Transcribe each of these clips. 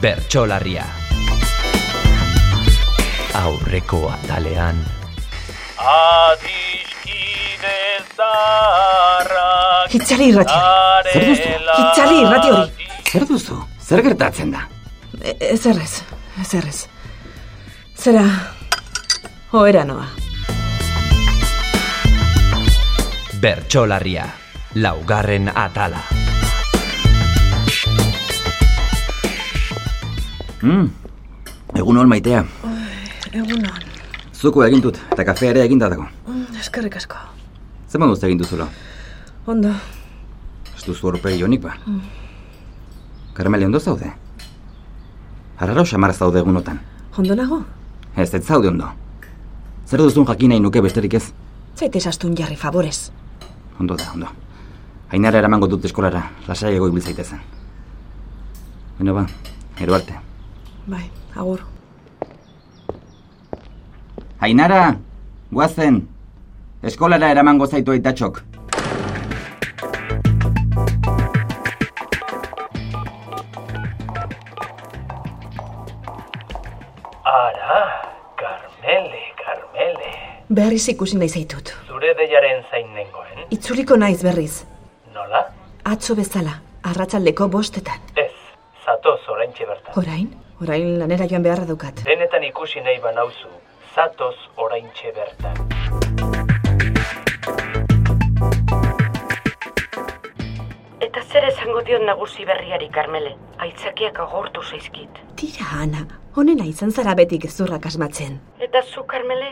bertsolarria. Aurreko atalean Adiskide zarra Itzali irratia. Zer duzu? Itzali irrati hori. Zer duzu? Zer gertatzen da? E- Ez errez, ez errez. Zera, joera noa. bertsolarria. Laugarren atala. Hmm. Egun hol maitea. Egun hon, Zuko egin dut, eta kafea ere eginda dago. eskerrik asko. Zer moduz egin duzula? Ondo, Ez duzu horpegi honik ba. Karmele ondo zaude? Arraro xamar zaude egunotan. ondo nago? Ez, ez zaude ondo. Zer duzun jakin nahi nuke besterik ez? Zaite sastun jarri favorez. Ondo da, ondo. Ainara eramango dut eskolara, lasaiago ibil zaitezen. Bueno ba, ero arte. Bai, agur. Ainara, guazen, eskolara eramango zaitu aitatxok. Ara, Carmele, Carmele Berriz ikusi nahi zaitut. Zure deiaren zain nengoen, Itzuliko naiz berriz. nola? Atzo bezala, arratsaldeko bostetan. Ez, zatoz oraintxe bertan Orain, orain lanera joan beharra daukat. Denetan ikusi nahi banauzu, zatoz oraintxe bertan Eta zer esango dion nagusi berriari, Karmele? Aitzakiak agortu zaizkit. Tira, Ana, honena izan zara beti gezurrak asmatzen. Eta zu, Karmele,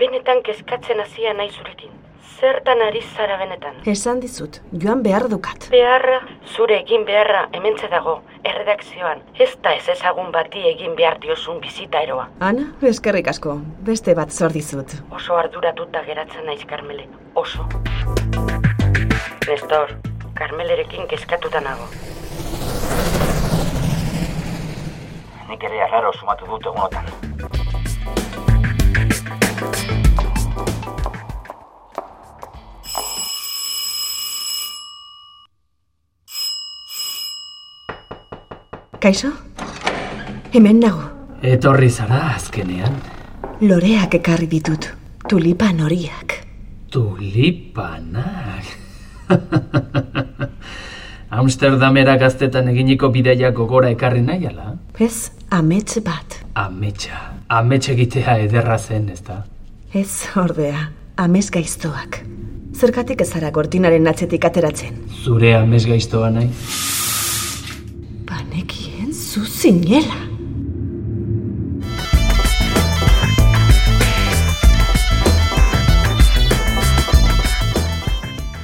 benetan kezkatzen hasia nahi zurekin. Zertan ari zara benetan? Esan dizut, joan behar dukat. Beharra, zure egin beharra hementze dago, erredakzioan. Ez da ez ezagun bati egin behar diozun bizita eroa. Ana, eskerrik asko, beste bat zor dizut. Oso arduratuta geratzen naiz, Karmele. Oso. Nestor, Karmelerekin kezkatuta nago. Nik ere arraro sumatu dut egunotan. Kaixo? Hemen nago, Etorri zara azkenean, loreak ekarri ditut, tulipan horiak. tulipanak. Amsterdamera gaztetan eginiko bidaia gogora ekarri nahi ala? Ez, amets bat. Ametsa, amets egitea ederra zen, ez da? Ez, ordea, amets gaiztoak. Zergatik ez zara gortinaren atzetik ateratzen. Zure amets gaiztoa nahi? Banekien zu zinela.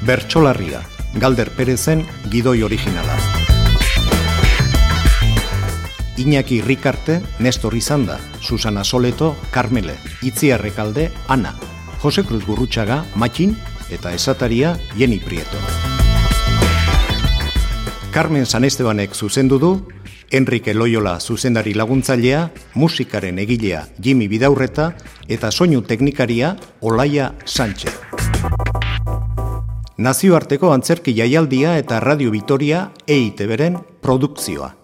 Bertsolarria, Galder Perezen gidoi originala. Iñaki Rikarte, Nestor Izanda, Susana Soleto, Carmele, Itziarrekalde, Ana, Jose Cruz Gurrutxaga, Matxin, eta esataria Jenny Prieto. Carmen Sanestebanek zuzendu du, Enrique Loyola zuzendari laguntzailea, musikaren egilea Jimmy Bidaurreta eta soinu teknikaria Olaia Sánchez. E Nazioarteko antzerki jaialdia eta Radio Vitoria EITB-ren produkzioa.